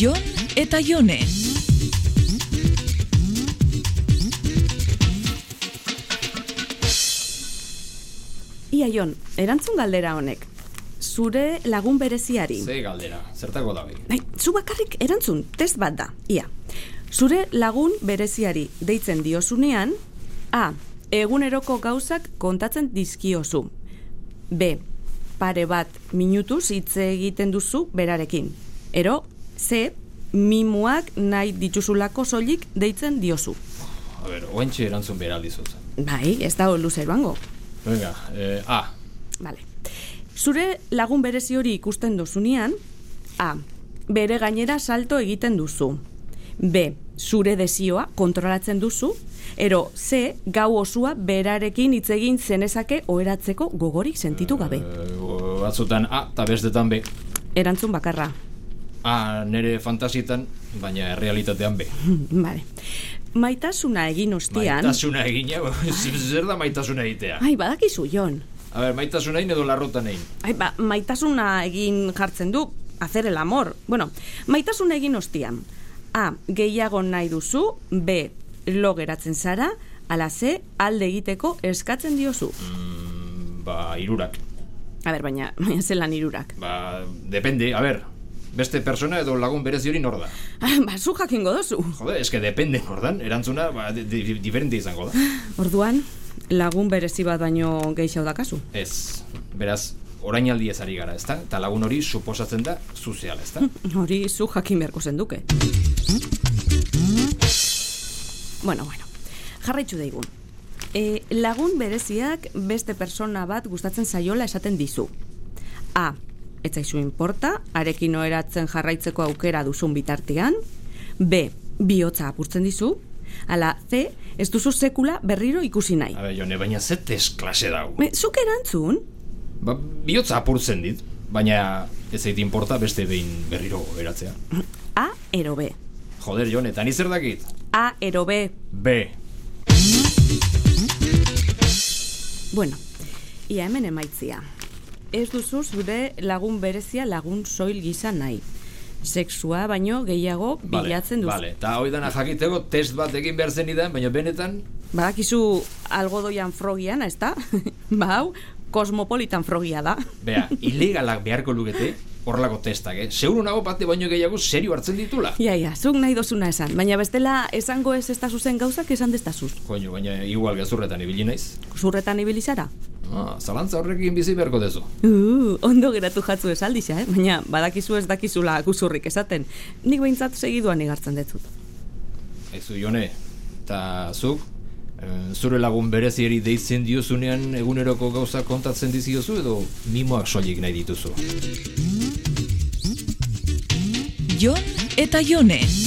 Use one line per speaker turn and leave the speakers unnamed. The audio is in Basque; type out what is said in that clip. Jon eta Jone.
Ia Jon, erantzun galdera honek. Zure lagun bereziari.
Ze galdera, zertako da behin.
Nahi, zu bakarrik erantzun, test bat da, ia. Zure lagun bereziari deitzen diozunean, A. Eguneroko gauzak kontatzen dizkiozu. B. Pare bat minutuz hitz egiten duzu berarekin. Ero, C. Mimuak nahi dituzulako soilik deitzen diozu.
A ber, oentxe erantzun behar aldizut.
Bai, ez da luzeroango.
Venga, eh, A.
Vale. Zure lagun berezi hori ikusten duzunean, A. Bere gainera salto egiten duzu. B. Zure desioa kontrolatzen duzu. Ero, C. Gau osua berarekin hitz egin zenezake oheratzeko gogorik sentitu gabe.
Eh, o- batzutan A eta bestetan B.
Erantzun bakarra.
A nere fantasietan, baina errealitatean B.
vale. Maitasuna egin ostean...
Maitasuna egina, zer da maitasuna egitea?
Ai, badakizu, Jon.
A ber, maitasuna egin edo larrotan egin.
Ai, ba, maitasuna egin jartzen du, hacer el amor. Bueno, maitasuna egin ostian. A, gehiago nahi duzu, B, lo geratzen zara, ala C, alde egiteko eskatzen diozu.
Mm, ba, irurak.
A ber, baina, baina zelan irurak.
Ba, depende, a ber, beste persona edo lagun berezi hori nor da.
Ah, Ba, zu jakingo duzu.
Jode, eske depende nordan, erantzuna, ba, di- di- diferente izango da.
Orduan, lagun berezi bat baino gehiago dakazu.
Ez, beraz, orainaldi ez ari gara, ezta? Eta lagun hori suposatzen da zuzeala, ezta?
Hori zu jakin beharko zenduke. Bueno, bueno. Jarraitzu daigun. E, lagun bereziak beste persona bat gustatzen zaiola esaten dizu. A. Ez zaizu inporta, arekin oheratzen jarraitzeko aukera duzun bitartean. B. Bihotza apurtzen dizu. Ala C. Ez duzu sekula berriro ikusi nahi.
A ber, jone, baina ze desklase dau.
Me, zuk erantzun?
Ba, bihotza apurtzen dit, baina ez zait inporta beste behin berriro beratzea.
A ero B.
Joder, jone, eta ni zer dakit?
A ero B.
B.
Bueno, ia hemen emaitzia. Ez duzu zure lagun berezia lagun soil gisa nahi. Sexua baino gehiago bilatzen duzu.
Vale, eta hoi dana jakiteko test bat egin behar zen idan, baina benetan...
Badakizu algodoian frogiana, ez da? ba hau, kosmopolitan frogia da.
Bea, ilegalak beharko lukete horrelako testak, eh? Seguro nago bate baino gehiago serio hartzen ditula.
Ia, ia, zuk nahi dozuna esan, baina bestela esango ez ez zen gauzak esan destazuz.
Koño, baina igual gezurretan ibili naiz.
Zurretan ibilizara?
Ah, zalantza horrekin bizi beharko dezu.
Uh, ondo geratu jatzu esaldisa, eh? baina badakizu ez dakizula guzurrik esaten. Nik behintzat segiduan igartzen detzut.
Aizu jone, eta zuk, eh, zure lagun berezieri deitzen diozunean eguneroko gauza kontatzen diziozu edo mimoak soilik nahi dituzu.
Jon eta Jone.